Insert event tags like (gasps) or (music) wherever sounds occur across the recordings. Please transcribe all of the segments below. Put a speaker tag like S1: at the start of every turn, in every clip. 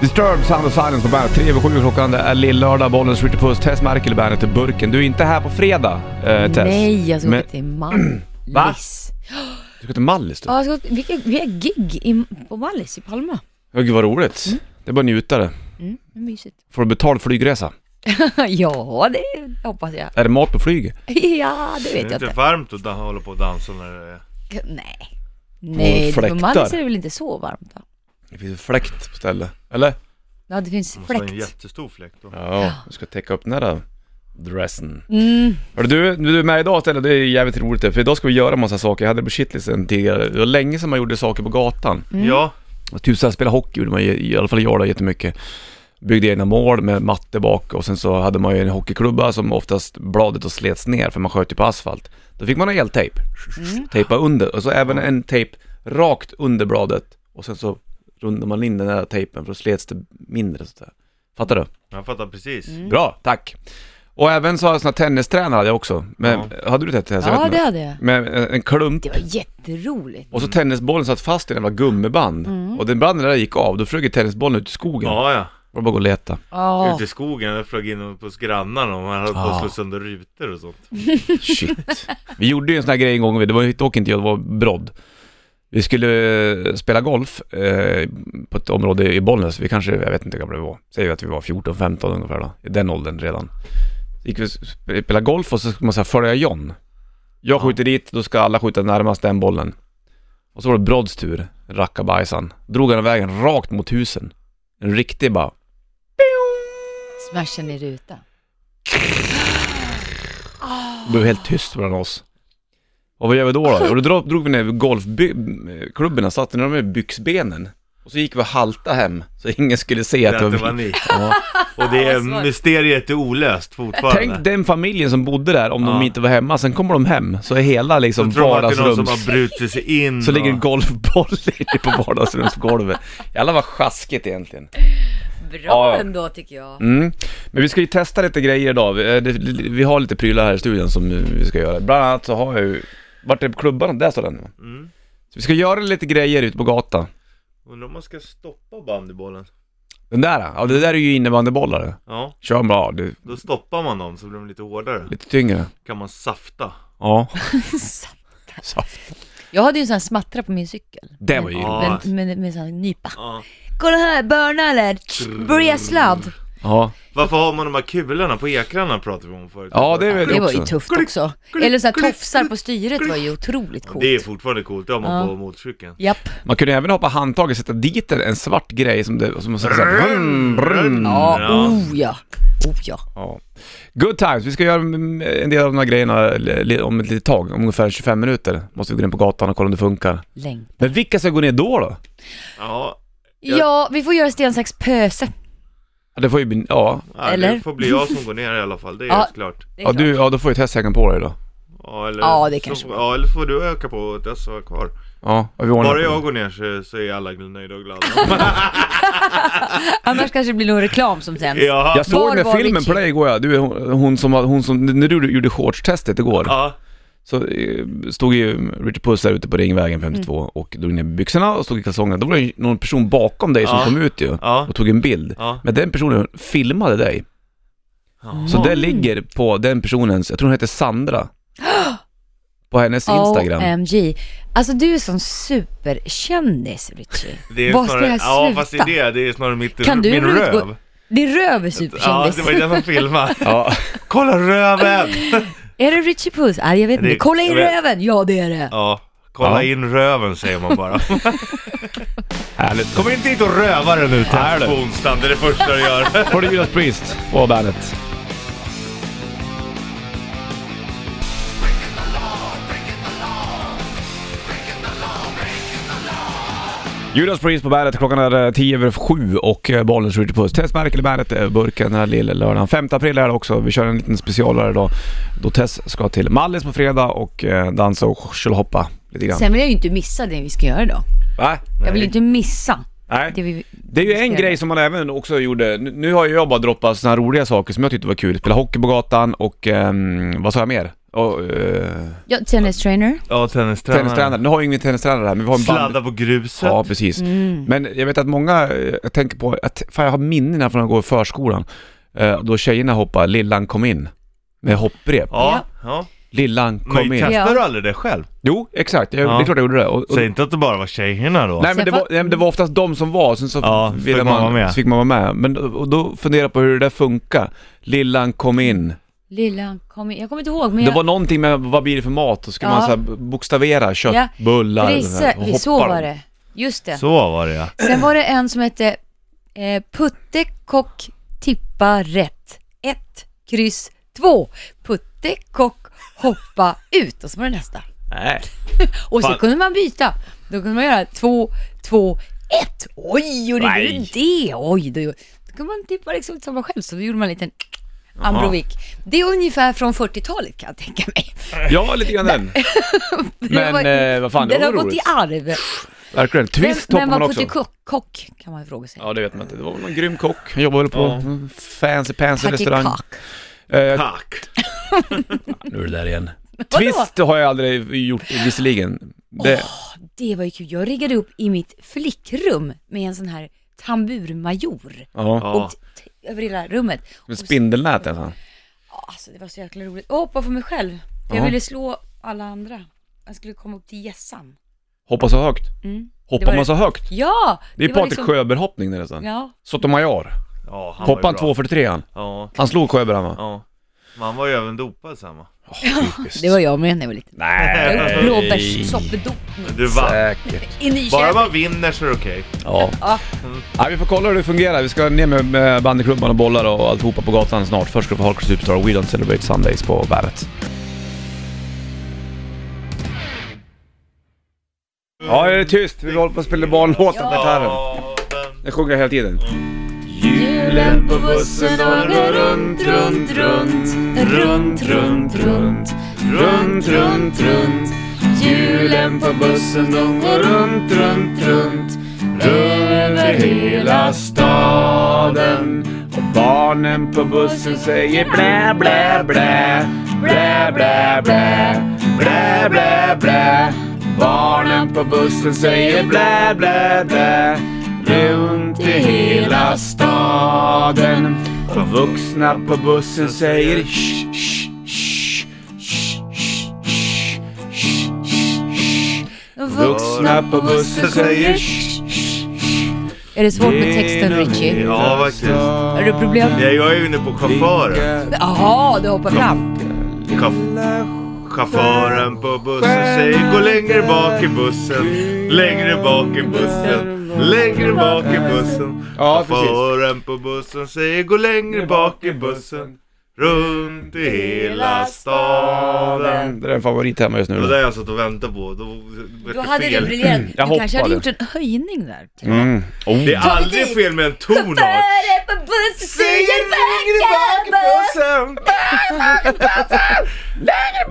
S1: Disturbed Sound of Silence på bandet. 3 över 7 klockan. Det är lill-lördag. Bollen skjuter puss. Tess Merkel i bandet i burken. Du är inte här på fredag, eh, Tess.
S2: Nej, jag ska
S1: Men-
S2: åka till
S1: (clears throat)
S2: Mallis.
S1: Du ska till Mallis du.
S2: Ja, jag ska åka, vi, vi har gig i, på Mallis i Palma.
S1: Ja, gud vad roligt. Det är bara njutare.
S2: Mm, det är mysigt. (laughs)
S1: Får du betald flygresa?
S2: ja, det hoppas jag. (laughs)
S1: Är det mat på flyget?
S2: Ja, det vet
S3: Det är
S2: jag
S3: inte
S2: inte.
S3: varmt att dan- hålla på och dansa när det är...
S2: Nej. Nej, på
S1: fläktar.
S2: Mallis är det väl inte så varmt då?
S1: Det finns fläkt på stället. Eller?
S2: Ja, det finns
S3: Det måste vara en
S2: fläkt.
S3: jättestor fläkt då.
S1: Ja, du ska täcka upp den där dressen.
S2: Mm.
S1: Hörru du, du är med idag istället. Det är jävligt roligt det, för idag ska vi göra massa saker. Jag hade det på shitlisten tidigare. Det var länge sedan man gjorde saker på gatan.
S2: Mm.
S3: Ja,
S1: Och Typ såhär, spela hockey gjorde man, i i alla fall jag då, jättemycket. Byggde egna mål med matte bak och sen så hade man ju en hockeyklubba som oftast bladet och slets ner för man sköt ju på asfalt. Då fick man ha eltejp,
S2: Mm.
S1: tejpa under och så även en tejp rakt under bladet och sen så rundade man in den där tejpen för då slets det mindre sådär. Fattar du?
S2: Mm.
S3: jag fattar precis.
S1: Bra, tack! Och även så har jag såna tennistränare hade jag också. Men, Hade du det? Tess? Jag vet
S2: Ja,
S1: inte.
S2: det hade jag.
S1: Med en en klump
S2: Det var jätteroligt.
S1: och så tennisbollen satt fast i den var gummiband. Och den branden där gick av, då flög ju tennisbollen ut i skogen.
S3: Ja, ja.
S1: Var bara gå och leta.
S2: Ja,
S3: Ute i skogen, jag flög in hos grannarna och man höll på
S1: Ja.
S3: att slå sönder rutor och sånt.
S1: Shit. Vi gjorde ju en sån här grej en gång, det var dock inte jag, det var Brodd. Vi skulle eh, spela golf eh, på ett område i Bollnäs, vi kanske, jag vet inte hur gamla vi var. Säger vi att vi var 14-15 ungefär då, i den åldern redan. Så Gick vi och sp- spela golf och så skulle man så här följa John. Jag skjuter dit, då ska alla skjuta närmast den bollen. Och så var det Brodds tur, rackabajsan. Drog han vägen rakt mot husen. En riktig bara
S2: smashen i rutan.
S1: Det blev helt tyst bland oss. Och vad gör vi då då? Och då dro- drog vi ner golfklubborna, satte ner dem i byxbenen. Och så gick vi och halta hem, så ingen skulle se att
S3: Det
S2: (laughs)
S3: var ni. Och det
S2: Vad svårt.
S3: är, mysteriet är olöst fortfarande.
S1: Tänk den familjen som bodde där om de
S3: Ja.
S1: inte var hemma, sen kommer de hem, så är hela liksom
S3: så tror man att det är någon som
S1: vardagsrums...
S3: har brutit sig in
S1: Så ligger en
S3: och...
S1: golfboll (laughs) inne på vardagsrumsgolvet. Jävlar vad sjaskigt egentligen.
S2: Bra
S1: Ja, ja.
S2: ändå tycker jag. (laughs)
S1: Mm. Men vi ska ju testa lite grejer idag. Vi, eh, det, vi har lite prylar här i studion som vi ska göra. Bland annat så har jag ju... Vart är klubban? Där står den. va?
S3: Mm.
S1: Så vi ska göra lite grejer ute på gatan.
S3: Undrar om man ska stoppa bandybollen?
S1: Den där, ja det där är ju innebandybollar.
S3: Ja,
S1: Kör bra, det är
S3: då stoppar man dem så blir de lite hårdare.
S1: lite tyngre.
S3: Kan man safta?
S1: Ja. Saft.
S2: Jag hade ju en sån här smattra på min cykel.
S1: Det var ju
S3: Ja.
S1: roligt.
S2: Med, med, med sån här nypa.
S3: Ja.
S2: Kolla här, burnallen, bresladd.
S1: Ja.
S3: Varför har man de här kulorna på ekrarna pratade vi om förut?
S1: Ja, det är väl-
S2: Det var ju
S1: också.
S2: tufft också. Eller sån här tofsar på styret var ju otroligt coolt.
S3: Det är Mm, fortfarande coolt, det har man
S2: Ja.
S3: på motorcykeln.
S2: Japp.
S1: Man kunde även hoppa handtaget och sätta dit en, en svart grej som det, som man säger såhär, brum, brum.
S2: Ja,
S3: Ja.
S2: oh ja. Oh ja.
S1: Ja. Good times, vi ska göra mm, en del av de här grejerna li- om ett litet tag, om ungefär 25 minuter. Måste vi gå in på gatan och kolla om det funkar.
S2: Läng.
S1: Men vilka ska gå ner då då?
S3: Ja, Jag-
S2: Ja, vi får göra sten, sax, pöse.
S1: Ja, det får ju bli, ja.
S3: ja
S2: Eller?
S3: det får bli jag som går ner i alla fall, det är
S2: Ja.
S3: helt klart.
S2: Det är
S1: Ja,
S2: klart.
S1: du, ja då får ju Tess på dig då.
S3: Ja, eller,
S2: Ja, det
S3: så-
S2: kanske
S3: Ja, eller får du öka på att dessa var kvar.
S1: Ja, och vi ordnar-
S3: Bara jag går ner så, så är alla nöjda
S2: (laughs)
S3: och glada.
S2: Annars kanske det blir någon reklam som sänds.
S3: (laughs) ja.
S1: Jag såg
S2: Var
S1: den
S2: var
S1: här filmen
S2: Ricky?
S1: på dig igår ja. Du, hon, hon som, var- hon som, när du gjorde shortstestet igår.
S3: ja.
S1: Så eh, stod ju Richard Puss där ute på Ringvägen
S2: Mm.
S1: 52 och drog ner byxorna och stod i kalsongerna. Då var det ju någon person bakom dig som
S3: Ja.
S1: kom ut ju
S3: Ja.
S1: och tog en bild.
S3: Ja.
S1: Men den personen filmade dig.
S3: Ja.
S1: Så det ligger på den personens, jag tror hon heter
S2: (gasps)
S1: Sandra. På hennes Instagram.
S2: OMG. Alltså du är sån superkändis Richie.
S3: Det är
S2: Vad ska
S3: snarare,
S2: jag
S3: Ja,
S2: sluta?
S3: fast det är det, det är snarare mitt,
S2: Kan du
S3: min
S2: utgå-
S3: röv.
S2: Din röv är
S3: Ja,
S2: superkändis.
S3: det var ju den som filmade.
S1: Ja.
S3: Kolla
S2: (laughs)
S3: röven!
S2: Är det Richie Puss? Nej, jag vet
S3: Det-
S2: inte. Kolla in
S3: jag vet-
S2: röven! Ja, det är det.
S3: Ja,
S1: Ja.
S3: kolla in röven säger
S1: (laughs)
S3: man bara.
S1: Härligt. Kom
S3: Kommer inte hit och röva den nu
S1: Här
S3: Tess
S1: du.
S3: på onsdagen, det är det första du gör.
S1: (laughs) får du Judas Priest på bandet. Judas Priest på bandet, klockan är eh, tio över sju och eh, bollen skjuter puss. Tess Merkel i bandet, eh, burken den här lilla lördagen. 5 april är det också, vi kör en liten specialare idag. Då Tess ska till Mallis på fredag och eh, dansa och hoppa lite grann.
S2: Sen vill jag ju inte missa det vi ska göra idag.
S1: Va?
S2: Jag vill inte missa
S1: Nej.
S2: det vi...
S1: Det är ju en grej som man även också gjorde, nu- nu har ju jag bara droppat såna här roliga saker som jag tyckte var kul. Spela hockey på gatan och ehm, vad sa jag mer? Och, eh,
S2: Ja, tennis trainer.
S3: Ja, tennistränare.
S1: tennistränare. Nu har ju ingen tennistränare här, men vi har en band.
S3: Sladda på gruset.
S1: Ja, precis.
S2: Mm.
S1: Men jag vet att många, eh, jag tänker på, att, fan jag har minnen här från när jag går i förskolan. Eh, då tjejerna hoppar Lillan kom in. Med hopprep.
S3: Ja, ja.
S1: Lillan kom in.
S3: Men testar
S2: Ja.
S3: du aldrig det själv?
S1: Jo, exakt. Jag,
S3: Ja.
S1: Det är klart jag gjorde det. Och, och,
S3: Säg inte att det bara var tjejerna då.
S1: nej, men det
S2: Sen
S1: var, nej, men det var oftast de som var, sen så
S3: Ja,
S1: ville
S3: fick man
S1: man,
S3: vara med.
S1: så fick man vara med. Men och då funderar jag på hur det där funkar. Lillan kom in.
S2: Lilla, kom in. Jag kommer inte ihåg, men
S1: Det
S2: jag...
S1: var någonting med vad blir det för mat? Då ska
S2: Ja.
S1: man så här bokstavera
S2: Ja.
S1: köttbullar
S2: Frisse,
S1: och
S2: vi så
S1: hoppar.
S2: var det. Just det.
S3: Så var det ja.
S2: Sen var det en som hette eh, Putte Kock Tippa Rätt. Ett, kryss, två. Putte Kock Hoppa Ut. Och så var det nästa.
S1: Nej.
S2: Och så
S3: Fan.
S2: kunde man byta. Då kunde man göra två, två, ett. Oj, gjorde du
S3: Nej.
S2: det? Oj, då, då kunde man tippa liksom inte samma själv. Så då gjorde man en liten Ambrovik. Det är ungefär från 40-talet kan jag tänka mig. (laughs)
S1: Ja, lite grann den. Men
S2: var-
S1: eh, vad fan, det,
S2: Den har
S1: var
S2: gått
S1: roligt.
S2: i arv.
S1: Verkligen. Twist
S2: Men
S1: hoppar
S2: var
S1: man också.
S2: Putte Kock, kock kan man ju fråga sig.
S1: Ja, det vet man inte. Det var väl någon grym kock. Han jobbade väl på mm, fancy pansy
S2: Putte
S1: restaurang.
S2: Kock.
S1: Eh,
S3: Tack.
S1: nu är det där igen. Twist har jag aldrig gjort, visserligen. Det,
S2: Det var ju kul. Jag riggade upp i mitt flickrum med en sån här tamburmajor.
S1: ja.
S2: Och
S3: Ja.
S2: t- över hela rummet.
S1: Med spindelnät nästan.
S2: Alltså det var så jäkla roligt. Jag hoppade för mig själv. För jag
S1: Ja.
S2: ville slå alla andra. Jag skulle komma upp till gässan.
S1: Hoppa så högt.
S2: Mm.
S1: Hoppar
S2: Det var-
S1: man så högt?
S2: Ja!
S1: Det är
S2: var liksom-
S1: Patrik Sjöberg-hoppning det nästan.
S2: Ja.
S1: Sotomayor.
S3: Ja, liksom-
S1: Hoppade
S3: han var
S1: han
S3: ju bra.
S1: 243 han.
S3: Ja,
S1: Han slog Sjöberg han va?
S3: ja. Man var ju även dopad samma.
S1: Typiskt.
S2: Det var jag med när jag var liten. Jag har gjort blåbärssoppedopning.
S3: Du vann.
S1: Säkert.
S2: I
S3: Bara
S2: Nyköping.
S3: man vinner så är det okej.
S1: Ja.
S2: Ja.
S1: ja. Vi får kolla hur det fungerar. Vi ska ner med, med bandyklubban och bollar och alltihopa på gatan snart. Först ska vi få Hardcore Superstar och We Don't Celebrate Sundays på Bandet. Ja, det är tyst. Vi håller på att spela barnlåten på gitarren. Den sjunger hela tiden.
S2: Julen på bussen och går runt, runt, runt, runt, runt, runt, runt, runt, runt. Julen på bussen de går runt, runt, runt, över hela
S1: staden. Och barnen på bussen säger blä, blä, blä. Blä, blä, blä. Blä, blä, blä. Barnen på bussen säger blä, blä, blä. Runt i hela staden. Och vuxna på bussen säger shh, shh, shh, shh, shh, shh, shh, shh. Vuxna på bussen säger shh, shh, shh.
S2: Är det svårt med texten
S1: Genom
S2: Richie?
S1: hela
S3: Ja, faktiskt.
S2: Har du problem?
S1: staden
S3: Jag är ju inne på chauffören.
S2: Jaha, du hoppar fram.
S3: Chauffören på bussen säger gå längre bak i bussen. Längre bak i bussen. Längre bak i bussen.
S1: Ja, precis.
S3: Chauffören på bussen säger gå längre bak i bussen. Runt i hela staden.
S1: Det är en favorit hemma just
S3: Det
S1: nu.
S3: var där jag satt och väntade på. Då vart
S2: Då
S3: det
S2: hade du
S3: fel.
S2: briljerat. Du
S1: Jag
S2: kanske hade
S1: hoppade.
S2: gjort en höjning där.
S1: Mm. Oh.
S3: Det är aldrig fel med en ton art.
S2: Före på bussen säger vägen
S1: bussen!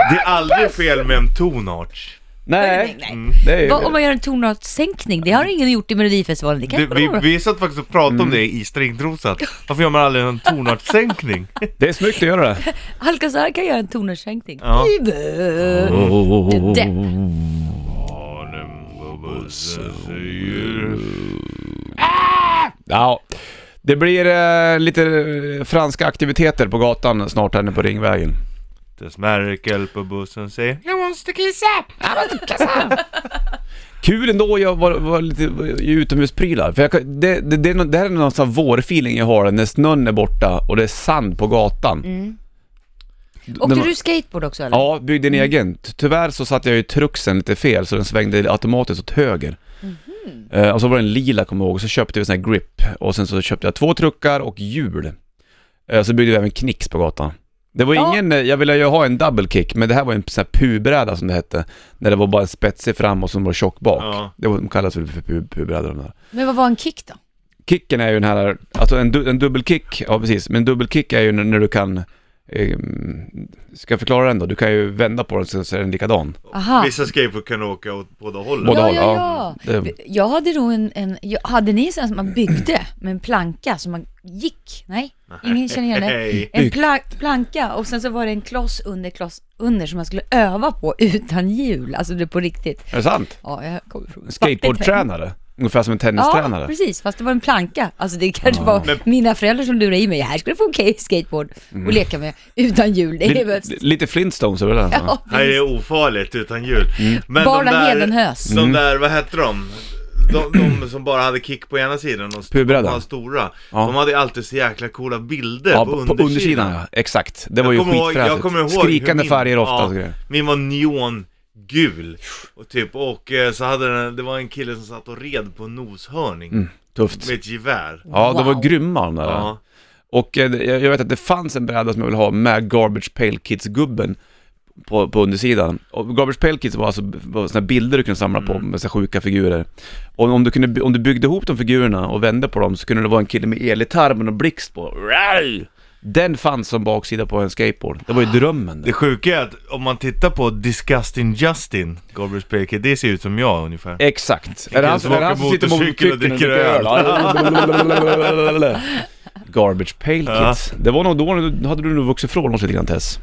S3: Det är aldrig fel med en tonart.
S1: Nej, Mm,
S2: Nej.
S1: det är ju...
S2: Vad om man gör en tonartssänkning? Det har ingen gjort i Melodifestivalen. Det kan
S3: Du,
S2: inte
S3: vi,
S2: vara-
S3: vi satt faktiskt och pratade om det i stringtrosan. Varför gör man aldrig en
S2: (laughs)
S3: tonartssänkning?
S1: Det är snyggt att göra det.
S2: Alcazar kan göra en tonartssänkning.
S3: Ja.
S2: Ibö.
S1: Oh.
S3: Oh,
S2: Det-
S1: Ja. Det blir eh, lite eh, franska aktiviteter på gatan snart här nu på Ringvägen.
S3: Dess Merkel på bussen säger
S1: Kul ändå jag var, var lite i utomhusprylar. För jag, kan- det, det, det, är nå- det här är någon sån här vårfeeling jag har när snön är borta och det är sand på gatan.
S2: Mm. Åkte
S1: Den-
S2: du skateboard också eller? Mm.
S1: Ja, byggde en egen. Ty- Tyvärr så satte jag ju truxen lite fel så den svängde automatiskt åt höger.
S2: Mhm.
S1: Eh, och så var den lila kommer jag ihåg, så köpte vi sån här grip och sen så köpte jag två truckar och hjul. Eh, så byggde vi även knicks på gatan. Det var
S2: Ja.
S1: ingen, eh, jag ville ju ha en double kick men det här var en sån här pubräda som det hette. När det var bara en spetsig fram och som var tjock bak.
S3: Ja.
S1: Det var, de kallas väl för pu- pubrädor de där.
S2: Men vad var en kick då?
S1: Kicken är ju den här, alltså en, du, en dubbelkick, ja precis, men dubbelkick är ju när, när du kan ehm, ska jag förklara den då? Du kan ju vända på den så så är den likadan.
S2: Aha.
S3: Vissa skateboard kan åka åt båda hållen.
S1: Båda
S2: ja,
S1: håll,
S2: ja,
S1: ja.
S2: ja.
S1: Det-
S2: Jag hade nog en, en jag, hade ni en sån som man byggde med en planka som man gick? Nej, ingen känner
S3: (laughs)
S2: igen det.
S3: Hej.
S2: En
S1: Byggt.
S2: pla- planka och sen så var det en kloss under, kloss under som man skulle öva på (laughs) utan hjul, alltså det på riktigt.
S1: Är det sant?
S2: Ja, jag kommer från
S1: Skateboardtränare. Ungefär som en
S2: Ja,
S1: tennistränare.
S2: precis, fast det var en planka. Alltså det kanske var
S3: Men-
S2: mina föräldrar som lurade i mig, här ska du få en skate- skateboard
S1: Mm.
S2: och leka med utan hjul. Det (laughs) är väl...
S1: lite, lite Flintstones över den.
S2: Ja,
S3: Nej, det är ofarligt utan hjul.
S1: Mm.
S3: Men
S2: Bara hedenhös.
S3: De där, vad hette de? De, de som bara hade kick på ena sidan och
S1: Pubrädda.
S3: de var stora.
S1: Ja.
S3: De hade ju alltid så jäkla coola bilder
S1: Ja, på
S3: på, undersidan.
S1: på undersidan ja, exakt. Det var
S3: Jag
S1: ju
S3: kommer ihåg- jag kommer ihåg
S1: skitfräsigt. Skrikande
S3: hur min-
S1: färger ofta.
S3: ja,
S1: och grejer.
S3: Min var neongul. Och, typ, och eh, så hade den, det var en kille som satt och red på en noshörning
S1: Tufft.
S3: med ett gevär.
S1: Mm. Ja, de var
S2: Wow.
S1: grymma de där.
S3: Ja.
S1: Och eh, jag jag vet att det fanns en bräda som jag ville ha med Garbage Pail Kids-gubben på, på undersidan. Och Garbage Pail Kids var alltså var såna här bilder du kunde samla på
S3: Mm.
S1: med så här sjuka figurer. Och om du, kunde, by- om du byggde ihop de figurerna och vände på dem så kunde det vara en kille med elgitarr med någon blixt på. Rai! Den fanns som baksida på en skateboard. Det var ju drömmen.
S3: Ah. Det sjuka är att om man tittar på Disgusting Justin, Gabriel Speke, det ser ut som jag ungefär.
S1: Exakt. Är det han som, är det han som sitter på motorcykeln och dricker öl? (laughs) Garbage Pail
S3: Ja.
S1: Kids. Det var nog då, då hade du nog vuxit ifrån oss lite grann Tess.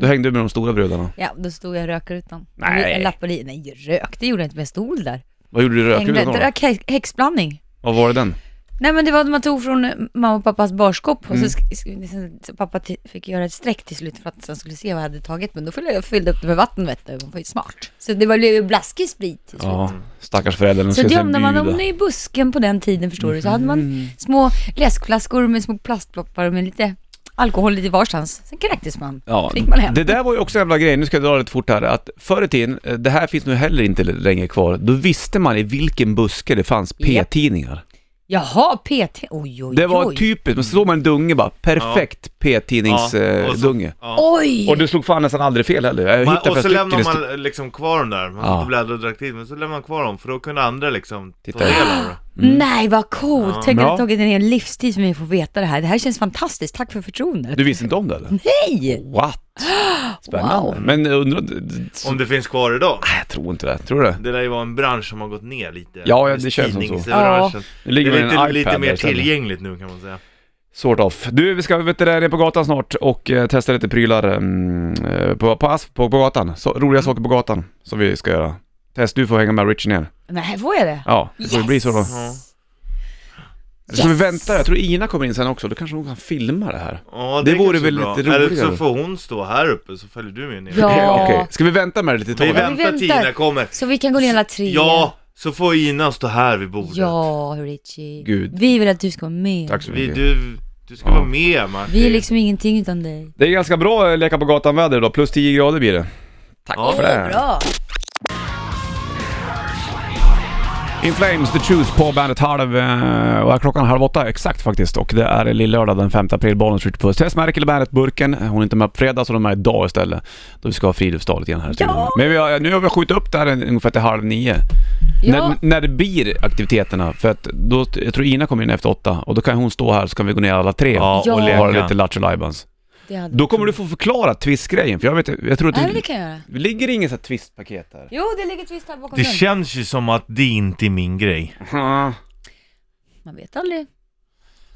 S1: Då hängde du med de stora brudarna.
S2: Ja, då stod jag och rökade ut dem.
S1: Nej.
S2: En lapp och li- Nej, rök, det gjorde jag inte, men jag stod där.
S1: Vad gjorde du i
S2: Hängde,
S1: rökrutan då?
S2: drack hä- häxblandning.
S1: Vad var det den?
S2: Nej men det var att man tog från eh, mamma och pappas barskåp och
S1: Mm.
S2: så, sk- sk- sen, så pappa ti- fick göra ett streck till slut för att han skulle se vad jag hade tagit. Men då fyllde jag fyllde upp det med vatten vet du, man var ju smart. Så det var- blev ju blaskig sprit till slut.
S1: Ja, stackars föräldrar. de
S2: Så
S1: skulle
S2: gömde
S1: sen
S2: man
S1: bjuda.
S2: dem i busken på den tiden förstår du. Så hade
S1: Mm.
S2: man små läskflaskor med små plastploppar med lite alkohol lite varstans. Sen kräktes man.
S1: Ja,
S2: Fick man hem.
S1: det där var ju också en jävla grej, nu ska jag dra det lite fort här, att förr i tiden, eh, det här finns nu heller inte längre kvar, då visste man i vilken buske det fanns
S2: Japp.
S1: p-tidningar.
S2: Jaha, PT. Oj, oj,
S1: Det var typ-
S2: oj.
S1: typiskt, men så såg man en dunge bara, perfekt
S3: Ja, och så-
S1: p-tidningsdunge.
S3: Ja.
S2: Oj!
S1: Och du slog fan nästan aldrig fel heller. Jag
S3: Man,
S1: hittade
S3: och
S1: flera
S3: så
S1: stycken i
S3: lämnar
S1: st-
S3: man liksom kvar dem där, man
S1: Ja.
S3: ja. bläddrar och direkt dit, men så lämnar man kvar dem för då kunde andra liksom
S1: Titta.
S3: ta del av det.
S1: (laughs)
S2: Nej, vad coolt!
S3: Ja.
S2: Tänk att det
S1: Ja.
S2: har tagit en hel livstid för mig att få veta det här. Det här känns fantastiskt. Tack för förtroendet.
S1: Du visste inte om det eller?
S2: Nej!
S1: What? Spännande.
S2: (gasps) Wow.
S1: Men jag undrar... d- så-
S3: Om det finns kvar idag.
S1: Nej, jag tror inte det. Tror du det?
S3: Det där ju vara en bransch som har gått ner lite.
S1: Ja, ja,
S3: Just
S1: det känns som så.
S3: tidningsbranschen.
S1: Det ligger
S3: det
S1: med en
S3: är lite,
S1: iPad
S3: lite
S1: där
S3: mer
S1: istället.
S3: tillgängligt nu kan man säga.
S1: Sort of. Du, vi ska veterinären på gatan snart och eh, testa lite prylar mm, eh, på, på, asf, på, på gatan. Så, roliga saker på gatan som vi ska göra. Tess, du får hänga med Richie ner.
S2: Nej, får jag det?
S1: Ja, det får
S2: Yes! Mm.
S1: bli så då.
S3: Ja.
S1: Så vi
S2: Yes!
S1: väntar, jag tror Ina kommer in sen också, då kanske hon kan filma det här.
S3: Ja,
S1: Det vore
S3: kanske är
S1: väl
S3: bra.
S1: lite
S3: Eller
S1: roligare.
S3: så får hon stå här uppe så följer du med ner.
S1: (laughs)
S2: Ja.
S1: Okej, ska vi vänta med det lite
S3: Vi
S1: till tolv?
S2: väntar.
S3: väntar tills Ina kommer.
S2: Så vi kan gå ner alla tre?
S3: Ja, så får Ina stå här vid bordet.
S2: Ja, Richie.
S1: Gud.
S2: Vi vill att du ska vara med.
S1: Tack så
S3: Vi,
S1: mycket.
S3: du, du ska
S1: Ja.
S3: vara med Martin.
S2: Vi är liksom ingenting utan dig.
S1: Det är ganska bra eh, leka på gatan-väder idag, plus 10 grader blir det. Tack
S3: Ja.
S1: för det.
S2: Bra!
S1: In Flames, The Truth på bandet halv... eh, Vad är klockan? Halv åtta exakt faktiskt. Och det är lillördag den 5 april, Bollnäs skjuter på Tess Merkel i bandet Burken. Hon är inte med på fredag så de är med idag istället. Då vi ska ha friluftsdag lite grann här i studion. Men vi har, nu har vi skjutit upp det här en- ungefär till halv nio.
S2: Ja.
S1: När, när det blir aktiviteterna, för att då, jag tror Ina kommer in efter åtta och då kan hon stå här så kan vi gå ner alla tre
S3: Ja,
S2: Ja.
S3: och
S1: och ha
S3: leka.
S1: lite lattjo lajbans.
S2: Det hade...
S1: Då kommer du få förklara twistgrejen, för jag vet jag tror att
S2: Nej,
S1: det,
S2: men det kan jag göra.
S1: ligger inget så här twistpaket här.
S2: Jo, det ligger ett visst här bakom
S3: Det
S2: den.
S3: känns ju som att det inte är min grej.
S2: Man vet aldrig.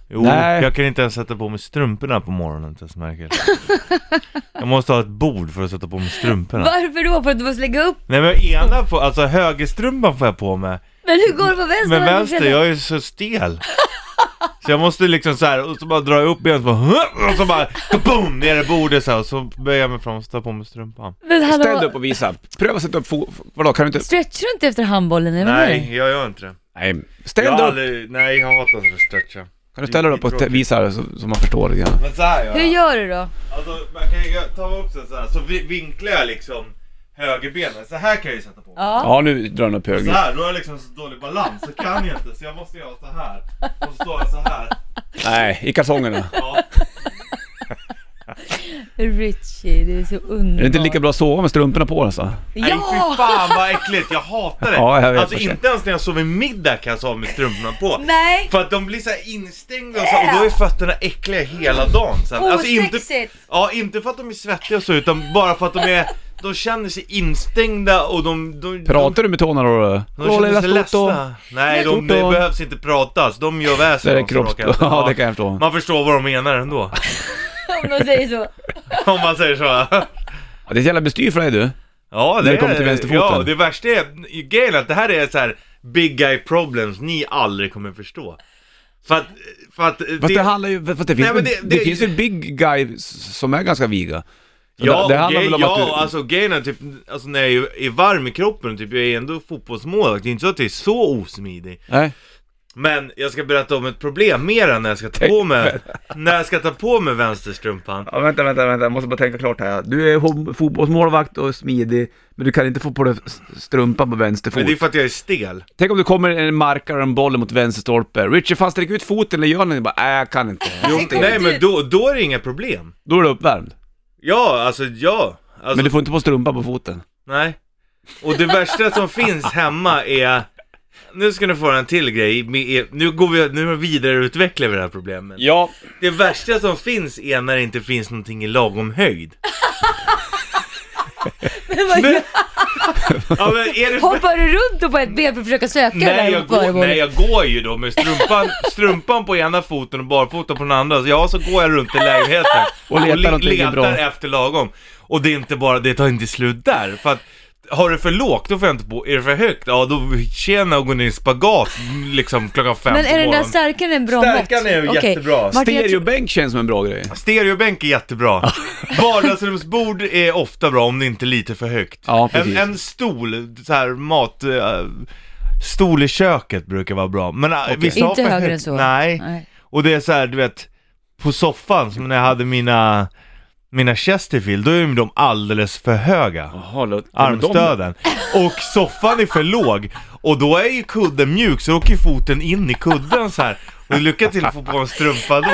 S3: Jo,
S1: Nej.
S3: jag kan inte ens sätta på mig strumporna på morgonen Tess Merkel. jag måste ha ett bord för att sätta på mig strumporna.
S2: Varför då? För att du måste lägga upp?
S3: Nej men ena på, alltså högerstrumpan får jag på mig.
S2: Men hur går det på vänster?
S3: Men
S2: hand?
S3: vänster, jag är så stel. Så jag måste liksom så här, och så bara dra upp benet och så bara, och så bara, kaboom, ner i bordet så här, och så böjer jag mig fram och så tar jag på mig strumpan.
S2: Men hallå,
S1: Ställ dig upp och visa. Pröva att sätta upp fo- Vadå, kan du inte...
S2: Stretchar du inte efter handbollen? Eller vad är det?
S3: Nej, jag gör inte det.
S1: Nej, ställ
S3: Jag
S1: dig
S3: har
S1: upp.
S3: aldrig, nej jag hatar att stretcha.
S1: Kan du ställa dig upp och te- visa det så, så man förstår lite grann?
S3: Men så här gör
S2: Hur
S3: jag.
S2: gör du då?
S3: Alltså man kan ju ta upp sig så här, så vi- vinklar jag liksom högerbenet. Så här kan jag ju sätta på mig.
S2: Ja.
S1: Ja, nu drar den upp
S3: Så
S1: höger.
S3: här, då har jag liksom så dålig balans, så kan jag inte. Så jag måste göra så här. Och så står jag så här.
S1: (laughs) Nej, i kalsongerna.
S3: Ja.
S2: Richie, det är så underbart.
S1: Är det inte lika bra att sova med strumporna på alltså? nästan?
S3: Nej fy
S2: Ja!
S3: fan vad äckligt, jag hatar det!
S1: Ja, jag vet
S3: alltså
S1: vad jag-
S3: inte ens när jag sover middag kan jag sova med strumporna på.
S2: Nej! Äh!
S3: För att de blir så här instängda och, så, och då är fötterna äckliga hela dagen sen. Alltså, inte,
S2: Osexigt.
S3: ja, inte för att de är svettiga och så utan bara för att de är de känner sig instängda och de... de
S1: Pratar du med tårna då?
S3: De, de känner sig ledsna. Nej, de,
S1: Toto.
S3: det behövs inte pratas. De gör
S1: Det
S3: väsen
S1: är
S3: av
S1: kropps...
S3: saker.
S1: (laughs) Ja, det kan jag förstå.
S3: Man förstår vad de menar ändå. (laughs)
S2: Om de säger så.
S3: Om man säger så.
S1: Ja, Det är ett jävla bestyr för dig du.
S3: Ja, det
S1: När det kommer
S3: är-
S1: till vänsterfoten.
S3: Ja, det värsta är, grejen är att det här är så här big guy problems ni aldrig kommer förstå. För att, för att...
S1: Fast det, handlar ju... Fast det finns,
S3: Nej, men
S1: väl-
S3: det-
S1: det,
S3: det-
S1: finns ju big guys som är ganska viga. Så
S3: Ja,
S1: det, det
S3: och
S1: handlar
S3: grej-
S1: väl om
S3: ja
S1: att du...
S3: alltså grejen är typ, alltså när jag är, är varm i kroppen, typ jag är ändå fotbollsmålvakt, det är inte så att jag är så osmidig.
S1: Nej.
S3: Men jag ska berätta om ett problem mer än när jag ska ta
S1: (laughs)
S3: på mig, när jag ska ta på mig vänsterstrumpan.
S1: Ja, vänta, vänta, vänta, jag måste bara tänka klart här. Du är hom- fotbollsmålvakt och smidig, men du kan inte få på dig s- strumpan på vänster fot.
S3: Men det är för att jag är stel.
S1: Tänk om det kommer en markare och en boll mot vänsterstolpe. Richie, fan sträck ut foten eller gör någonting. Bara, nej, jag kan inte.
S2: Jo,
S1: Just det.
S2: Tänk om
S3: Nej
S2: du-
S3: men då, då är det inga problem.
S1: Då är du uppvärmd.
S3: Ja, alltså ja. Alltså,
S1: Men du får inte på strumpan på foten.
S3: Nej. Och det värsta som finns hemma är... Nu ska ni få en till grej. med- Nu, går vi, nu vidareutvecklar vi det här problemet.
S1: Ja.
S3: Det värsta som finns är när det inte finns någonting i lagom höjd.
S2: Men vad gör-
S3: Ja, men är det för...
S2: Hoppar du runt då på ett ben för att försöka söka där
S3: Nej jag,
S2: mot varje
S3: går,
S2: boll?
S3: nej, jag går ju då med strumpan, strumpan på ena foten och barfoten på den andra. Så ja, så går jag runt i lägenheten
S1: Och letar någonting
S3: letar
S1: bra.
S3: efter lagom. Och det är inte bara, det tar inte slut där. För att har du för lågt, då får jag inte på. Är det för högt, ja då tjena och går ner i spagat liksom klockan fem
S2: Men
S3: på
S2: är den där
S3: morgonen.
S2: stärkan en bra mått?
S3: Stärkan är ju
S2: Okej.
S3: jättebra.
S2: Martin, jag tror-
S1: Stereobänk känns som en bra grej.
S3: Stereobänk är jättebra. (laughs) Vardagsrumsbord är ofta bra om det inte är lite för högt.
S1: Ja,
S3: en,
S1: precis.
S3: en stol, så här mat... eh, stol i köket brukar vara bra. Men okay. vissa har
S2: Inte
S3: för
S2: högre
S3: högt-
S2: än så.
S3: Nej.
S2: Nej.
S3: Och det är så här, du vet, på soffan som när jag hade mina, mina Chesterfield, då är ju de alldeles för höga.
S1: Jaha, låt-
S3: Armstöden. Och soffan är för låg. Och då är ju kudden mjuk, så då åker ju foten in i kudden så här. Och lycka till att få på en
S2: (laughs)
S3: strumpa då.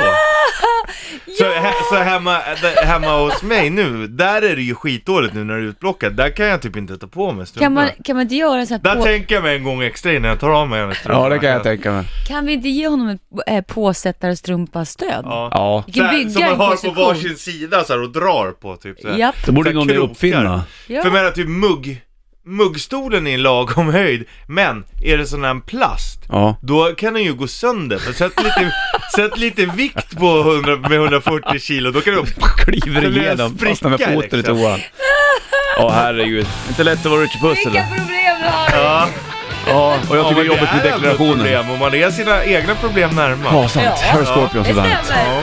S3: Så, he, så hemma, där- hemma hos mig nu, där är det ju skitdåligt nu när det är utblockat. Där kan jag typ inte ta på mig
S2: Kan
S3: strumporna.
S2: man, kan man inte göra så
S3: Där
S2: här på,
S3: tänker jag mig en gång extra innan jag tar av mig en strumpa.
S1: Ja, det kan jag tänka mig.
S2: Kan vi inte ge honom ett eh, påsättarstrumpastöd?
S3: Ja.
S1: Ja.
S2: Vi
S3: Så
S2: kan
S3: här, som
S2: bygga
S3: man
S2: en
S3: har på
S2: konstruktion.
S3: varsin sida så här, och drar på typ så här.
S2: Japp.
S1: Då borde
S3: Så här
S1: någon
S3: krokar.
S1: uppfinna.
S2: Ja.
S3: För jag menar typ mugg, muggstolen är i lagom höjd, men är det sån här plast,
S1: Ja. (laughs)
S3: då kan den ju gå sönder. För sätt lite, sätt lite vikt på 100, med 140 kilo, då kan du...
S1: Kliver
S3: Det blir en
S1: igenom, fastnar med
S3: spricka,
S1: foten i
S3: liksom.
S1: toan. Ja, herregud. Inte lätt att vara Richie Puss
S2: Vilka
S1: eller?
S2: problem du har!
S3: Ja,
S1: Ja, och jag
S3: ja,
S1: tycker
S3: men
S1: det är jobbigt med
S3: ändå ett
S1: deklarationen.
S3: Problem, och man är sina egna problem närmast.
S1: Ja, sant.
S2: Ja.
S1: Här är Scorpions
S2: Det
S1: på bandet.
S2: stämmer.
S3: Ja.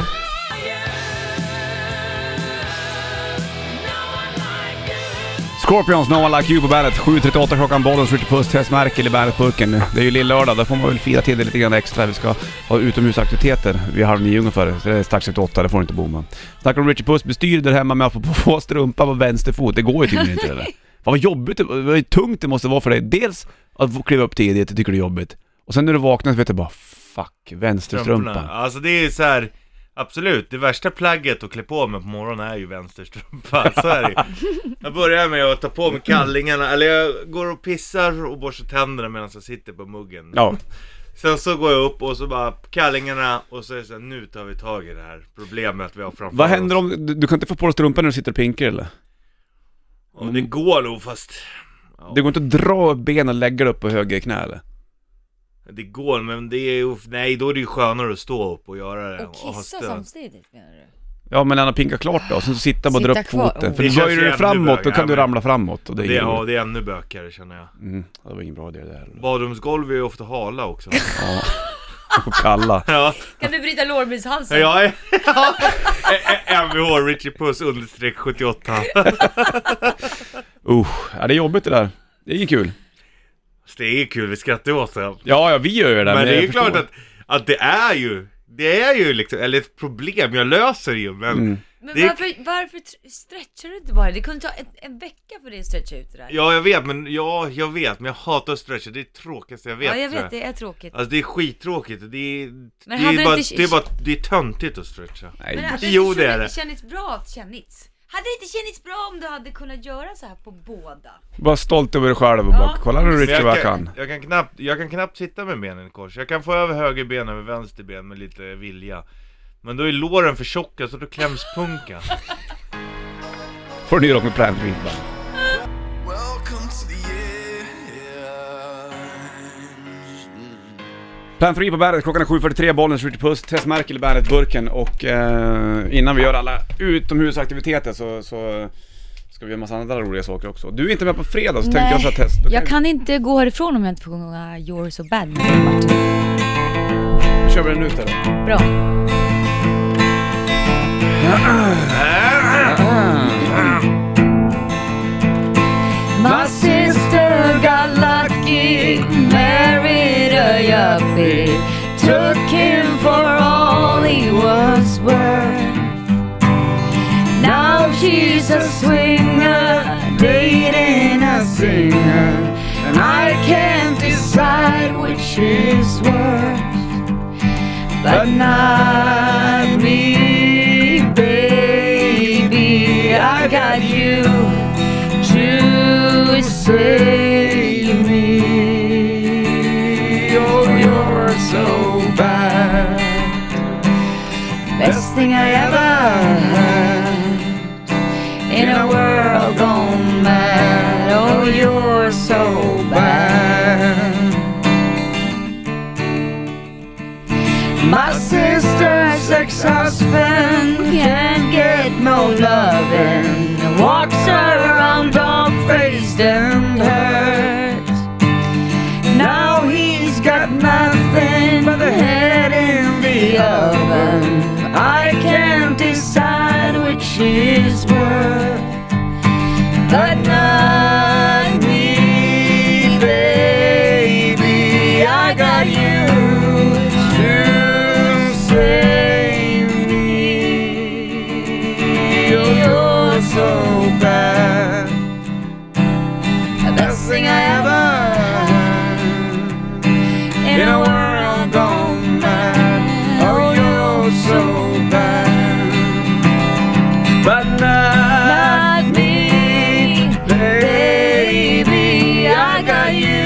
S1: Scorpions, No One Like You på bandet. 7.38 klockan, Bollens Ritchie Puss, Tess Merkel i bandetburken. Det är ju lillördag, där får man väl fira till det lite grann extra. Vi ska ha utomhusaktiviteter vid halv nio ungefär, så det är strax efter åtta, det får du inte bomma. Snackar om Ritchie Puss, bestyr där hemma med att få på strumpa på vänster fot. Det går ju tydligen inte eller?
S3: (laughs)
S1: Fan vad jobbigt, det- vad tungt det måste vara för dig. Dels att få kliva upp tidigt, det tycker du är jobbigt. Och sen när du vaknar så vet du bara fuck,
S3: Strumporna.
S1: vänsterstrumpa.
S3: Alltså det är så här. Absolut, det värsta plagget att klä på mig på morgonen är
S1: (laughs)
S3: ju vänsterstrumpa, så är det ju. Jag börjar med att ta på mig kallingarna, eller jag går och pissar och borstar tänderna medan jag sitter på muggen.
S1: Ja,
S3: Sen så går jag upp och så bara kallingarna och så är det så här, nu tar vi tag i det här problemet vi har framför
S1: vad händer
S3: oss.
S1: om, du, du kan inte få på dig strumpan när du sitter och pinkar eller?
S3: Och det går nog fast... Ja,
S1: Det går inte att dra upp benen och lägga dig upp på höger knä eller?
S3: det går men det är ju... Nej, då är det ju skönare att stå upp och göra det.
S2: Och
S3: ha
S2: kissa
S3: stöd.
S2: samtidigt menar du?
S1: Ja men han har pinkat klart då, sen så sitter han bara och drar
S2: Sitta
S1: upp
S2: kvar.
S1: foten. För
S3: Det
S1: du
S3: känns
S1: böjer
S3: ju
S1: du
S3: ännu
S1: framåt, då
S3: bögare,
S1: kan du
S3: men-
S1: ramla framåt och det
S3: Det,
S1: är
S3: ja,
S1: ju...
S3: det är ännu bökigare känner jag.
S1: Mm, det var ingen bra idé det heller.
S3: Badrumsgolv är ju ofta hala också. (laughs)
S1: Ja. Och kalla.
S3: ja,
S2: Kan du bryta lårbenshalsen?
S3: jag (laughs) är... Mvh, Richie Puss, understreck 78.
S1: Usch, ja, det är jobbigt det där. Det är inget kul.
S3: Så det är kul, vi skrattar ju åt det.
S1: Ja, ja vi gör ju det där,
S3: Men det är
S1: jag
S3: ju klart
S1: förstår.
S3: att, att det är ju... Det är ju liksom, eller ett problem, jag löser ju men...
S1: Mm.
S2: Men
S3: det är-
S2: varför, varför tr- stretchar du inte bara? Det kunde ta en, en vecka för dig att stretcha ut det där.
S3: Ja jag vet men, ja jag vet men jag hatar att stretcha, det är det tråkigaste jag vet
S2: ja jag
S3: tror
S2: vet, det är tråkigt.
S3: Alltså det är skittråkigt, det är, det
S2: hade det
S3: är, bara,
S2: inte-
S3: det är bara, det är töntigt att stretcha
S1: Nej,
S2: Men
S4: alltså,
S1: det
S2: hade
S3: Jo,
S2: inte
S3: det är
S2: känn-
S3: det.
S2: Kännits bra, kännits.
S4: Hade det inte känts bra om du hade kunnat göra så här på båda?
S1: Var stolt över dig själv och bara,
S4: Ja.
S1: kolla nu
S3: Men
S1: Richie vad jag
S3: kan,
S1: kan.
S3: jag, kan knappt, jag kan knappt sitta med benen i kors. Jag kan få över höger ben över vänster ben med lite vilja. Men då är låren för tjocka så då kläms
S2: (laughs)
S3: punkan.
S1: Får ny rock med Plant Street Band.
S5: Welcome to the end.
S1: Plan 3 på bandet, klockan är 7.43, Bollnäs, Ritchie Puss, Tess Merkel i bandet, Burken och eh, innan vi gör alla utomhusaktiviteter så, så ska vi göra en massa andra roliga saker också. Du är inte med på fredag så tänkte jag så här Tess, då
S4: jag
S1: kan...
S4: kan inte gå härifrån om jag inte får sjunga You're so bad med Robert.
S1: vi- kör vi den ut eller?
S4: Bra. My sister got lucky, married a yuppie, took him for all he was worth. Now she's a swinger, dating a singer, and I can't decide which is worse. But not me, baby, I got you to save me. Oh, you're so bad. Best thing I ever had in a world gone mad. Oh, you're so bad. My sister's ex-husband can't get no loving. Walks her around dog-faced and hurt. Now he's got nothing but a head in the oven. I can't decide which is worth. But not me, baby. I got you to save me. Oh, you're so bad. The best thing I ever had in a world gone mad. Oh, you're so bad. But not, me, baby. I got you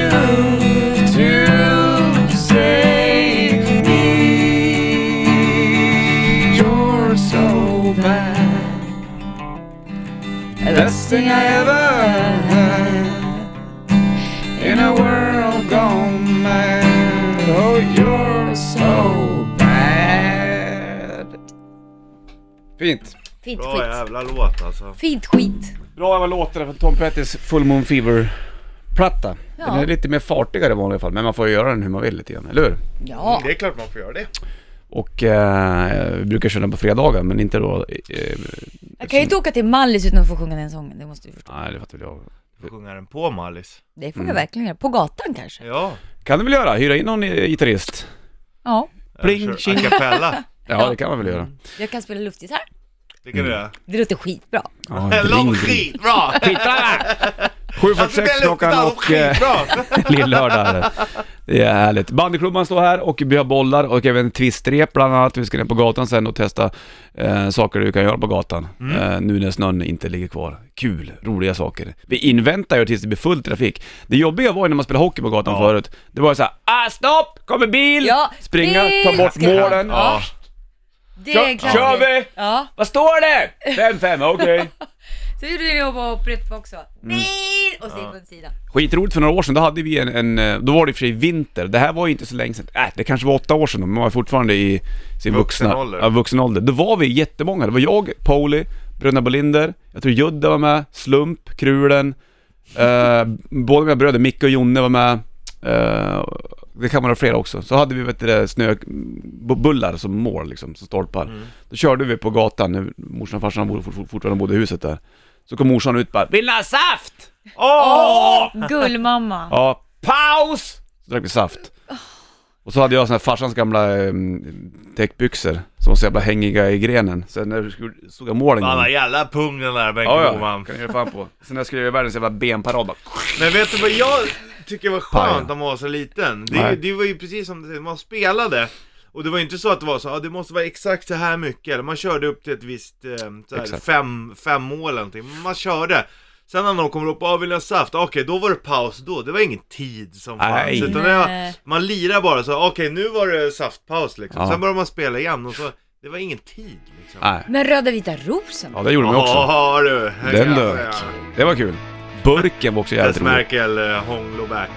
S4: to save me. You're so bad. The best thing I ever had in a world gone mad. Oh, you're so bad. Fint.
S2: Fint
S3: Bra jävla låt alltså.
S2: Fint skit.
S1: Bra jävla låtar från Tom Pettys Full Moon Fever-platta. Den är lite mer fartigare i vanliga fall, men man får ju göra den hur man vill lite grann, eller hur?
S2: Ja.
S3: Det är klart man får göra det.
S1: Och eh, vi brukar köra den på fredagar, men inte då... Eh,
S2: Jag kan ju inte åka till Mallis utan att få sjunga den sången, det måste du förstå.
S1: nej, det fattar väl jag.
S3: Du får sjunga den på Mallis.
S2: Det
S1: Mm.
S2: får jag verkligen göra. På gatan kanske?
S3: Ja.
S1: Kan du väl göra? Hyra in någon eh, gitarrist?
S2: Ja.
S1: Pling,
S3: Eller kör
S1: tjing.
S3: a cappella.
S1: Ja, det kan man väl
S3: (laughs)
S1: göra.
S2: Jag kan spela luftgitarr.
S3: Det
S1: Mm.
S3: kan du göra.
S2: Det låter skitbra.
S1: Ja,
S3: Lång
S1: bling,
S3: skitbra!
S1: Titta där!
S3: Alltså
S1: 7.46
S3: den
S1: klockan
S3: Alltså, luktar och
S1: och eh, (laughs)
S3: skitbra!
S1: lill-lördag är det. Det är härligt. Bandyklubban står här och vi har bollar och även twistrep bland annat. Vi ska ner på gatan sen och testa eh, saker du kan göra på gatan. Eh, nu när snön inte ligger kvar. Kul, roliga saker. Vi inväntar ju tills det blir full trafik. Det jobbiga var ju när man spelade hockey på gatan
S3: Ja.
S1: förut. Det var ju såhär, ah stopp, kommer bil!
S2: Ja,
S1: Springa,
S2: bil!
S1: ta bort
S2: Ska-
S1: målen.
S3: Ja.
S2: Det
S1: Kör-
S2: är klassiskt.
S1: kör vi!
S2: Ja.
S1: Vad står det?
S2: (laughs)
S1: 5-5, okej.
S2: Så gjorde vi det på Prep också.
S1: Mm.
S2: Bil! Och så gick vi åt sidan.
S1: Skitroligt för några år sedan, då hade vi en, en eh, då var det i och för sig vinter, det här var ju inte så länge sedan, äh, det kanske var åtta år sedan, men man var fortfarande i sin vuxna,
S3: Vuxen ålder.
S1: Ja, vuxen ålder. Då var vi jättemånga, det var jag, Pauli, Bröderna Bolinder, jag tror Judde var med, Slump, Krulen, eh, (laughs) båda mina bröder, Micke och Jonne var med, eh, det kan vara flera också. Så hade vi vet du, det, snöbullar som mål liksom, som stolpar.
S3: Mm.
S1: Då körde vi på gatan, när morsan och farsan bodde, fort- fortfarande bodde i huset där. Så kom morsan ut bara, vill ni ha saft?
S3: Åh!
S2: Gullmamma.
S1: Ja, paus! Så drack vi saft. Och så hade jag såna här farsans gamla eh, täckbyxor som var så jävla hängiga i grenen. Sen när du skulle- stod jag mål en gång.
S3: Fan vad
S1: Ja,
S3: jävla pung den där Bengt
S1: Mm. ja,
S3: Broman.
S1: kan jag ge fan på. Sen när jag skulle göra världens jävla benparad bara...
S3: Men vet du vad jag tycker var
S1: Pajen.
S3: skönt om man var så liten?
S1: Nej.
S3: Det, det var ju precis som du säger, man spelade
S6: Och det var ju inte så att det var så, ah, det måste vara exakt så här mycket. Eller man körde upp till ett visst, eh, så här,
S1: Exakt.
S6: fem, fem mål eller någonting. Men man körde. Sen när någon kommer upp, ah, vill ni ha saft? Ah, Okej, då var det paus då. Det var ingen tid som
S1: Nej.
S6: fanns. Utan det var,
S2: Nej.
S6: man lirar bara så, ah, okej nu var det saftpaus liksom.
S1: Ja.
S6: Sen började man spela igen och så, det var ingen tid liksom.
S1: Nej.
S2: Men röda vita rosen?
S1: Ja, det gjorde man ju också.
S6: Ja du, här
S1: Den
S6: kan jag
S1: dök.
S6: säga.
S1: Det var kul. Burken var också jävligt
S6: Dess
S1: rolig.
S6: Merkel, eh, Hånglo Bert.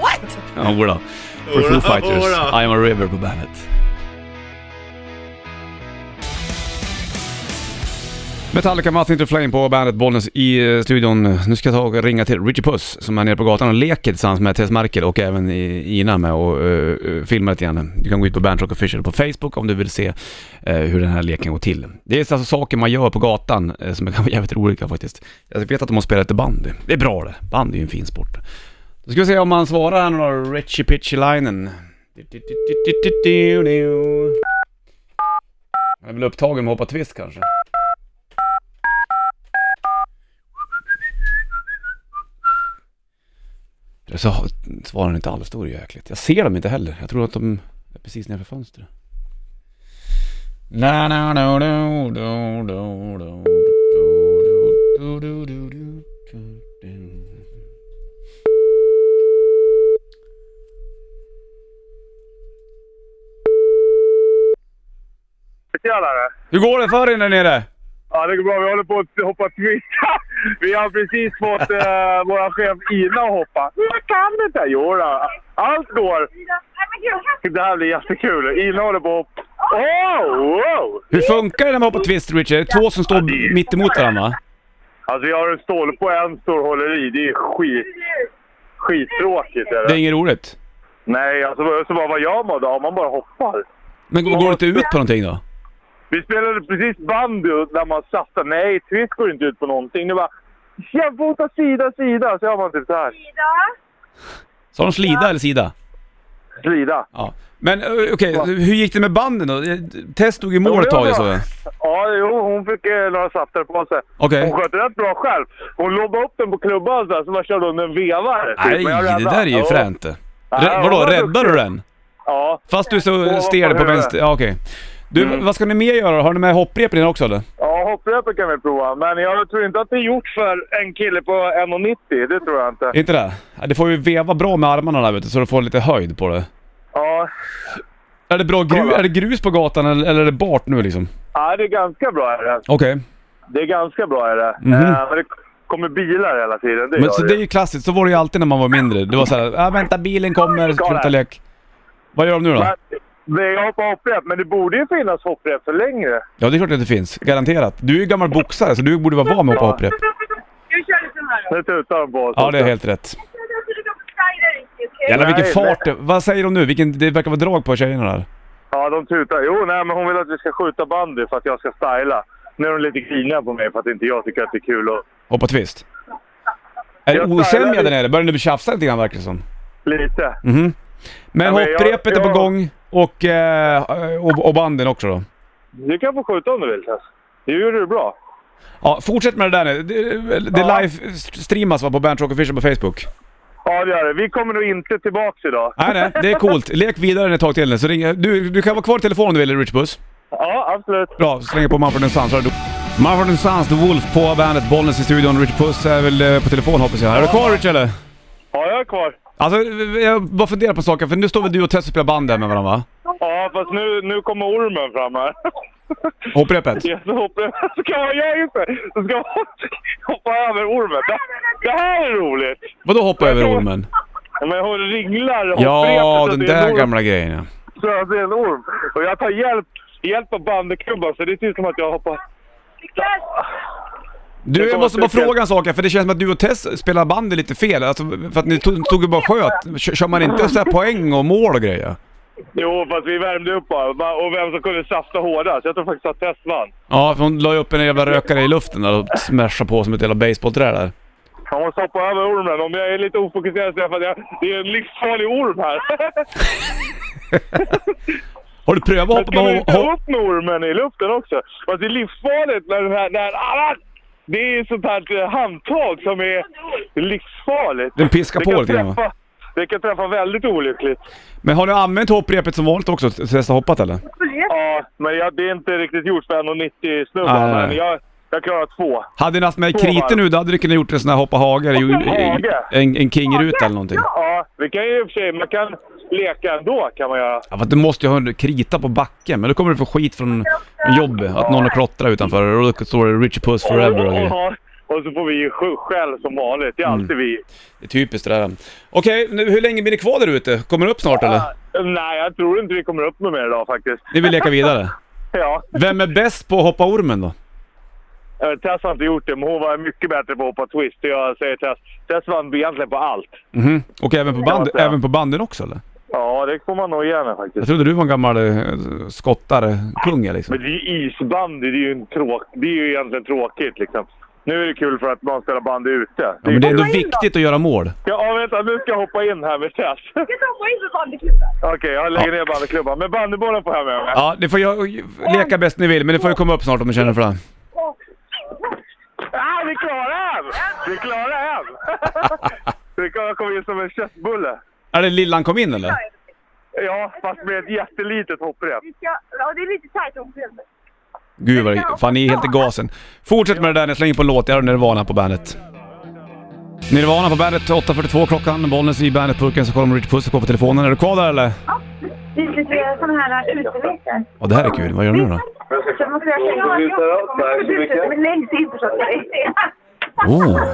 S2: What?
S1: Ja, jodå. För
S6: Jodå,
S1: Foo Fighters,
S6: jodå.
S1: I'm a River på bandet. Metallica, Must Into Flame på bandet Bollnäs i eh, studion. Nu ska jag ta och ringa till Richie Puss som är nere på gatan och leker tillsammans med Tess Merkel och även i- Ina med och eh, eh, filmar lite grann. Du kan gå ut på Bandrock Official på Facebook om du vill se eh, hur den här leken går till. Det är alltså saker man gör på gatan eh, som kan vara (laughs) jävligt roliga faktiskt. Jag vet att de har spelat lite bandy. Det är bra det. Bandy är ju en fin sport. Då ska vi se om han svarar här några Richie Pitchy-linen. Han är väl upptagen med att hoppa twist kanske. Eller så har- svarar han inte alls, då är det ju jäkligt. Jag ser dem inte heller. Jag tror att de är precis nedanför fönstret. Na, na, na, do, do, do, do, do, do, do, do, do, do, do.
S3: Tjenare!
S1: Hur går det för er där nere?
S3: Ja, det går bra. Vi håller på att hoppa twist. (laughs) Vi har precis fått
S6: (laughs)
S3: eh, vår chef Ina att hoppa. Jag kan inte! Jo, då. allt går. Det här blir jättekul. Ina håller på att... Oh, wow!
S1: Hur funkar det när man hoppar twist Richard? Det är Två som står mitt emot varandra
S3: Alltså, vi har en stolpe och en står och håller i. Det är skit... Skittråkigt är
S1: Det är
S3: det.
S1: inget roligt.
S3: Nej, alltså så bara, vad gör man då? Om Man bara hoppar.
S1: Men går går det inte ut på någonting då?
S3: Vi spelade precis bandy när man satte... Nej, twist går inte ut på någonting. Det var... Jämfota sida, sida! Så gör man typ så här.
S1: Sa de slida eller sida?
S3: Slida.
S1: Ja. Men eh, okej, hur gick det med banden då? Eh, Tess stod i
S3: Jo,
S1: mål
S3: det
S1: ett tag
S3: var
S1: jag
S3: bra.
S1: såg jag.
S3: Ja, jo, hon fick eh, några safter på sig.
S1: Okej.
S3: Hon sköt rätt bra själv. Hon lobbade upp den på klubban så, här, så bara körde hon en vevare. typ.
S1: Nej,
S3: Men jag
S1: det
S3: räddade.
S1: där är ju
S3: Ja.
S1: fränt. Rä-
S3: Ja,
S1: Vadå,
S3: hon var
S1: räddar du
S3: duktig.
S1: den?
S3: Ja.
S1: Fast du är så
S3: Ovanpå
S1: stel på
S3: huvudet.
S1: vänster... Ja, okej. Du,
S3: Mm.
S1: vad ska ni mer göra Har ni med hopprep i den också eller?
S3: ja, hopprepet kan vi prova. Men jag tror inte att det är gjort för en kille på 1,90. Det tror jag inte.
S1: Inte det? Ja, Det får ju veva bra med armarna där vet du, så du får lite höjd på det.
S3: Ja.
S1: Är det, bra gru-
S3: Kolla.
S1: är det grus på gatan eller eller är det bart nu liksom?
S3: ja, det är ganska bra är det.
S1: Okej.
S3: Det är ganska bra är det.
S1: Mhm.
S3: Eh, men det kommer bilar hela tiden. Det
S1: Men
S3: gör
S1: så det är ju klassiskt, så var det ju alltid när man var mindre. Det var såhär, ah, vänta bilen kommer, sluta lek. Vad gör de nu då?
S3: det är jag hoppar hopprep, men det borde ju finnas hopprep för längre.
S1: Ja det är klart att det finns, garanterat. Du är ju gammal boxare så du borde vara van med att hoppa hopprep.
S7: Nu kör vi sån här då.
S3: Nu tutar de på oss.
S1: Ja det är helt rätt.
S7: Okej.
S1: Jävlar vilken
S3: Nej,
S1: fart det Vad säger de nu? Vilken, det verkar vara drag på tjejerna där.
S3: Ja, de tutar. Jo, nej, men hon vill att vi ska skjuta bandy för att jag ska styla. Nu är de lite griniga på mig för att inte jag tycker att det är kul att...
S1: Hoppa twist. Är det
S3: Jag
S1: osämja
S3: stylar
S1: där nere? Börjar ni tjafsa lite grann verkar det som.
S3: Lite.
S1: Men
S3: Ja, men jag-
S1: hopprepet är på
S3: jag-
S1: gång och, eh, och, och banden också då.
S3: Du kan få skjuta om du vill, Tess. Det gjorde du bra.
S1: Ja, fortsätt med det där nu. Det, det live-streamas va, på Bernt Rock Official på Facebook?
S3: Ja, det gör det. Vi kommer nog inte tillbaks idag.
S1: Nej, nej, det är coolt. Lek vidare ett tag till. Så ring, du, du kan vara kvar i telefonen om du vill, Rich Buss.
S3: Ja, absolut.
S1: Bra, slänger på Mumford Sons. så är det- Mumford Sons, The Wolf på bandet, Bollnäs i studion. Rich Puss är väl eh, på telefon hoppas jag. Är du kvar Rich eller?
S3: Ja, jag är kvar.
S1: Alltså, jag bara funderar på saker, för nu står väl du och Tess och spelar band där med varandra va?
S3: Ja, fast nu, nu kommer ormen fram här. (laughs)
S1: Hopprepet?
S3: Jag så (laughs) hoppar Så kan man göra just det. Så ska man (laughs) hoppa över ormen. Det, det här är roligt!
S1: Vadå hoppa över ormen?
S3: Ja, Men hon ringlar och
S1: Ja,
S3: så
S1: den
S3: att det är en
S1: där
S3: orm.
S1: gamla grejen ja.
S3: Så jag ser en orm. Och jag tar hjälp, hjälp av bandyklubban så det ser ut som att jag hoppar...
S1: Du, jag
S3: kommer
S1: måste bara
S3: att trycka.
S1: fråga en sak här, för det känns som att du och Tess spelar bandy lite fel. Alltså, för att ni tog, tog ju bara sköt. Kör, kör man inte så här poäng och mål och grejer?
S3: Jo, fast vi värmde upp bara. Va- Och vem som kunde safta hårdast. Jag tror faktiskt att Tess vann.
S1: Ja, för hon la ju upp en jävla rökare i luften där och smashade på som ett jävla basebollträ där.
S3: Jag måste hoppa över ormen. Om jag är lite ofokuserad så är jag för att jag, det är en livsfarlig orm här.
S1: Har du prövat
S3: Jag
S1: att hoppa
S3: skulle
S1: med
S3: inte
S1: ho-
S3: upp med ormen i luften också. Fast det är livsfarligt när den här... När, Ah, alla, det är sånt här eh, handtag som är livsfarligt.
S1: Den piskar
S3: Det
S1: på
S3: kan
S1: lite grann, va?
S3: träffa-
S7: Vilket träffar väldigt olyckligt.
S1: Men har du använt hopprepet som vanligt också, tills dess du har hoppat eller?
S7: Ja, men jag, det är inte riktigt gjort för 1,90-snubbar.
S1: Nej, nej, nej.
S7: Men jag, jag klarar två.
S1: Hade ni haft med
S7: Så
S1: kriter
S7: varmt.
S1: nu, då hade du kunnat gjort en sån här hoppa hage eller ju-
S7: Hage?
S1: en, en kingruta eller någonting.
S7: Ja, vi kan ju i och för sig, man kan leka ändå kan man göra.
S1: Ja, fast du måste ju ha en krita på backen, men då kommer du få skit från jobbet, att någon har klottrat utanför och då står det Richie Puss Forever och grejer.
S7: Ja, och så får vi ju sj- skäll som vanligt. Det är
S1: Mm.
S7: alltid vi.
S1: Det är typiskt det där. Okej, nu, hur länge blir ni kvar där ute? Kommer ni upp snart eller?
S7: Nej, jag tror inte vi kommer upp med mer idag faktiskt.
S1: Ni vill leka vidare?
S7: Ja,
S1: Vem är bäst på att hoppa ormen då?
S7: eh, Tess har inte gjort det, men hon var mycket bättre på att hoppa twist. Jag säger Tess. Tess vann egentligen på allt.
S1: Mhm. Och även på, band,
S7: Ja, ja.
S1: även på banden också eller?
S7: Ja, det får man nog ge henne
S1: Jag
S7: faktiskt.
S1: trodde du var en gammal eh, skottarkunge liksom.
S7: Men det är ju isbandy, det är ju, en tråk... det är ju egentligen tråkigt liksom. Nu är det kul för att man spelar bandy ute.
S1: Ja, men det är ändå
S8: Hoppa in då.
S1: viktigt att göra mål.
S7: Ja, ah, vänta, nu ska jag hoppa in här med Tess.
S8: Jag ska hoppa in för bandyklubben.
S7: (laughs) Okej, jag lägger ner bandyklubban. Men bandybollen får jag med mig.
S1: Ja, ni får ju leka bäst ni vill, men det får ju komma upp snart om ni känner för det.
S7: Ah, vi klarar en! Vi klarar
S8: (laughs)
S7: en! Vi kan- Jag kom in som en köttbulle.
S1: Är det Lillan kom in eller?
S7: Ja, fast med ett jättelitet hopprep.
S8: Vi ska... Ja, det är lite tajt om klubben.
S1: Gud vad det- fan ni är helt i gasen. Fortsätt med det där, ni slänger på en låt. Jag har Nirvana på bandet. Nirvana på bandet, 8.42 klockan. Bollnäs i bandetburken så kollar man Rich Puss och kollar på telefonen. Är du kvar där eller?
S8: Det är lite sådana här utelekar.
S1: Ja, det här är kul. Vad gör du nu då?
S8: Så man försöker... Ja, tack så mycket. Men längst in förstås.
S1: Oh.
S8: Ha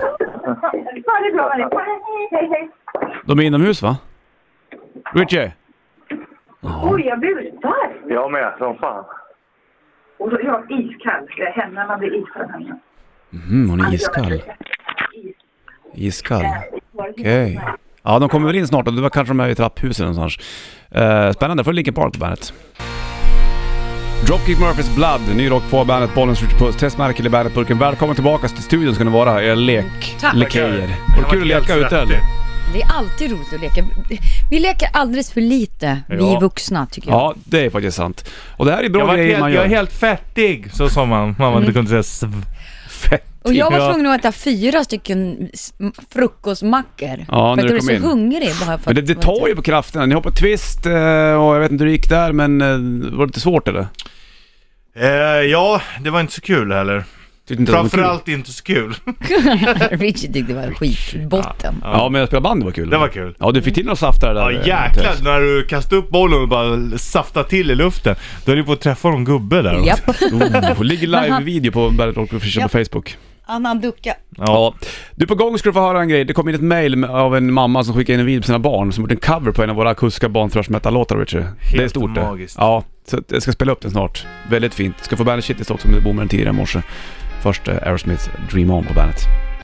S8: det bra allihopa. Hej, hej.
S1: De är inomhus va? Richie?
S8: Oj, jag busar.
S7: Jag med, som fan.
S8: Och så är jag iskall. Ska jag henne? Man blir iskall. henne.
S1: Mm, hon är iskall. Iskall. Okej. Ja, de kommer väl in snart och det var kanske de är i trapphuset någonstans. Eh, spännande, får Linkin Park på bandet. Dropkick Murphys Blood, ny rock på bandet, Bollens Richard Puss, Tess Merkel i bandetburken. Välkommen tillbaka till studion ska ni vara, era lek...
S9: Tack.
S1: lekejer. Var det kul att leka ute eller?
S9: Det är alltid roligt att leka. Vi leker alldeles för lite, vi
S1: Ja.
S9: vuxna tycker jag.
S1: Ja, det är faktiskt sant. Och det här är
S3: Jag,
S1: bra
S3: var
S1: grejer man
S3: helt,
S1: gör. Mm.
S3: jag är helt fettig, så sa man. Man inte kunde säga sv.
S9: Och jag var
S3: Ja.
S9: tvungen att äta fyra stycken s- m- frukostmackor.
S1: Ja,
S9: för
S1: när
S9: att
S1: du
S9: jag blev
S1: kom
S9: så
S1: in.
S9: hungrig. Bara för
S1: Men det,
S9: att-
S1: det tar ju på krafterna. Ni hoppar twist eh, och jag vet inte hur det gick där men eh, var det inte svårt eller?
S3: Eh, ja, det var inte så kul heller.
S1: Tyckte inte att det var kul?
S3: Framförallt inte så kul.
S9: (laughs) Richie typ- tyckte det var skitbotten.
S1: Ja men att spela bandy var kul.
S3: Det var kul.
S1: Ja du fick till några saftare där.
S3: Ja
S1: eh,
S3: jäklar,
S1: Tess.
S3: när du kastar upp bollen och bara saftar till i luften. Då är du på att träffa någon gubbe där också.
S9: Japp.
S1: Oh, ligger live-video på Bandet Rock Official på Facebook.
S9: Annan ducka.
S1: Ja. Du på gång ska du få höra en grej. Det kom in ett mail med- av en mamma som skickade in en video på sina barn som gjort en cover på en av våra akustiska barnthrash metal-låtar Richard. Det är stort
S3: magiskt.
S1: det. Ja, så att jag ska spela upp den snart. Väldigt fint. Ska få Bandet Shitlist också med bommaren tidigare i morse. Först eh, Aerosmith Dream On på bandet.